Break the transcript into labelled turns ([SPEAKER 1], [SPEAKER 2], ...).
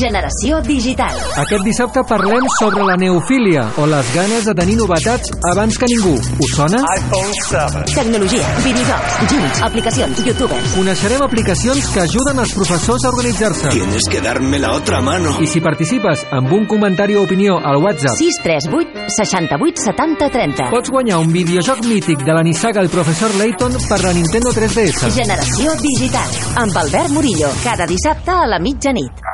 [SPEAKER 1] Generació digital.
[SPEAKER 2] Aquest dissabte parlem sobre la neofília o les ganes de tenir novetats abans que ningú. Us sona?
[SPEAKER 3] iPhone 7.
[SPEAKER 1] Tecnologia, videojocs, gyms, aplicacions, youtubers.
[SPEAKER 2] Coneixerem aplicacions que ajuden els professors a organitzar-se.
[SPEAKER 4] Tienes que darme la otra mano.
[SPEAKER 2] I si participes amb un comentari o opinió al WhatsApp,
[SPEAKER 1] 638 68 70 30.
[SPEAKER 2] pots guanyar un videojoc mític de la nissaga del professor Layton per la Nintendo 3DS.
[SPEAKER 1] Generació digital. Amb Albert Murillo. Cada dissabte a la mitjanit.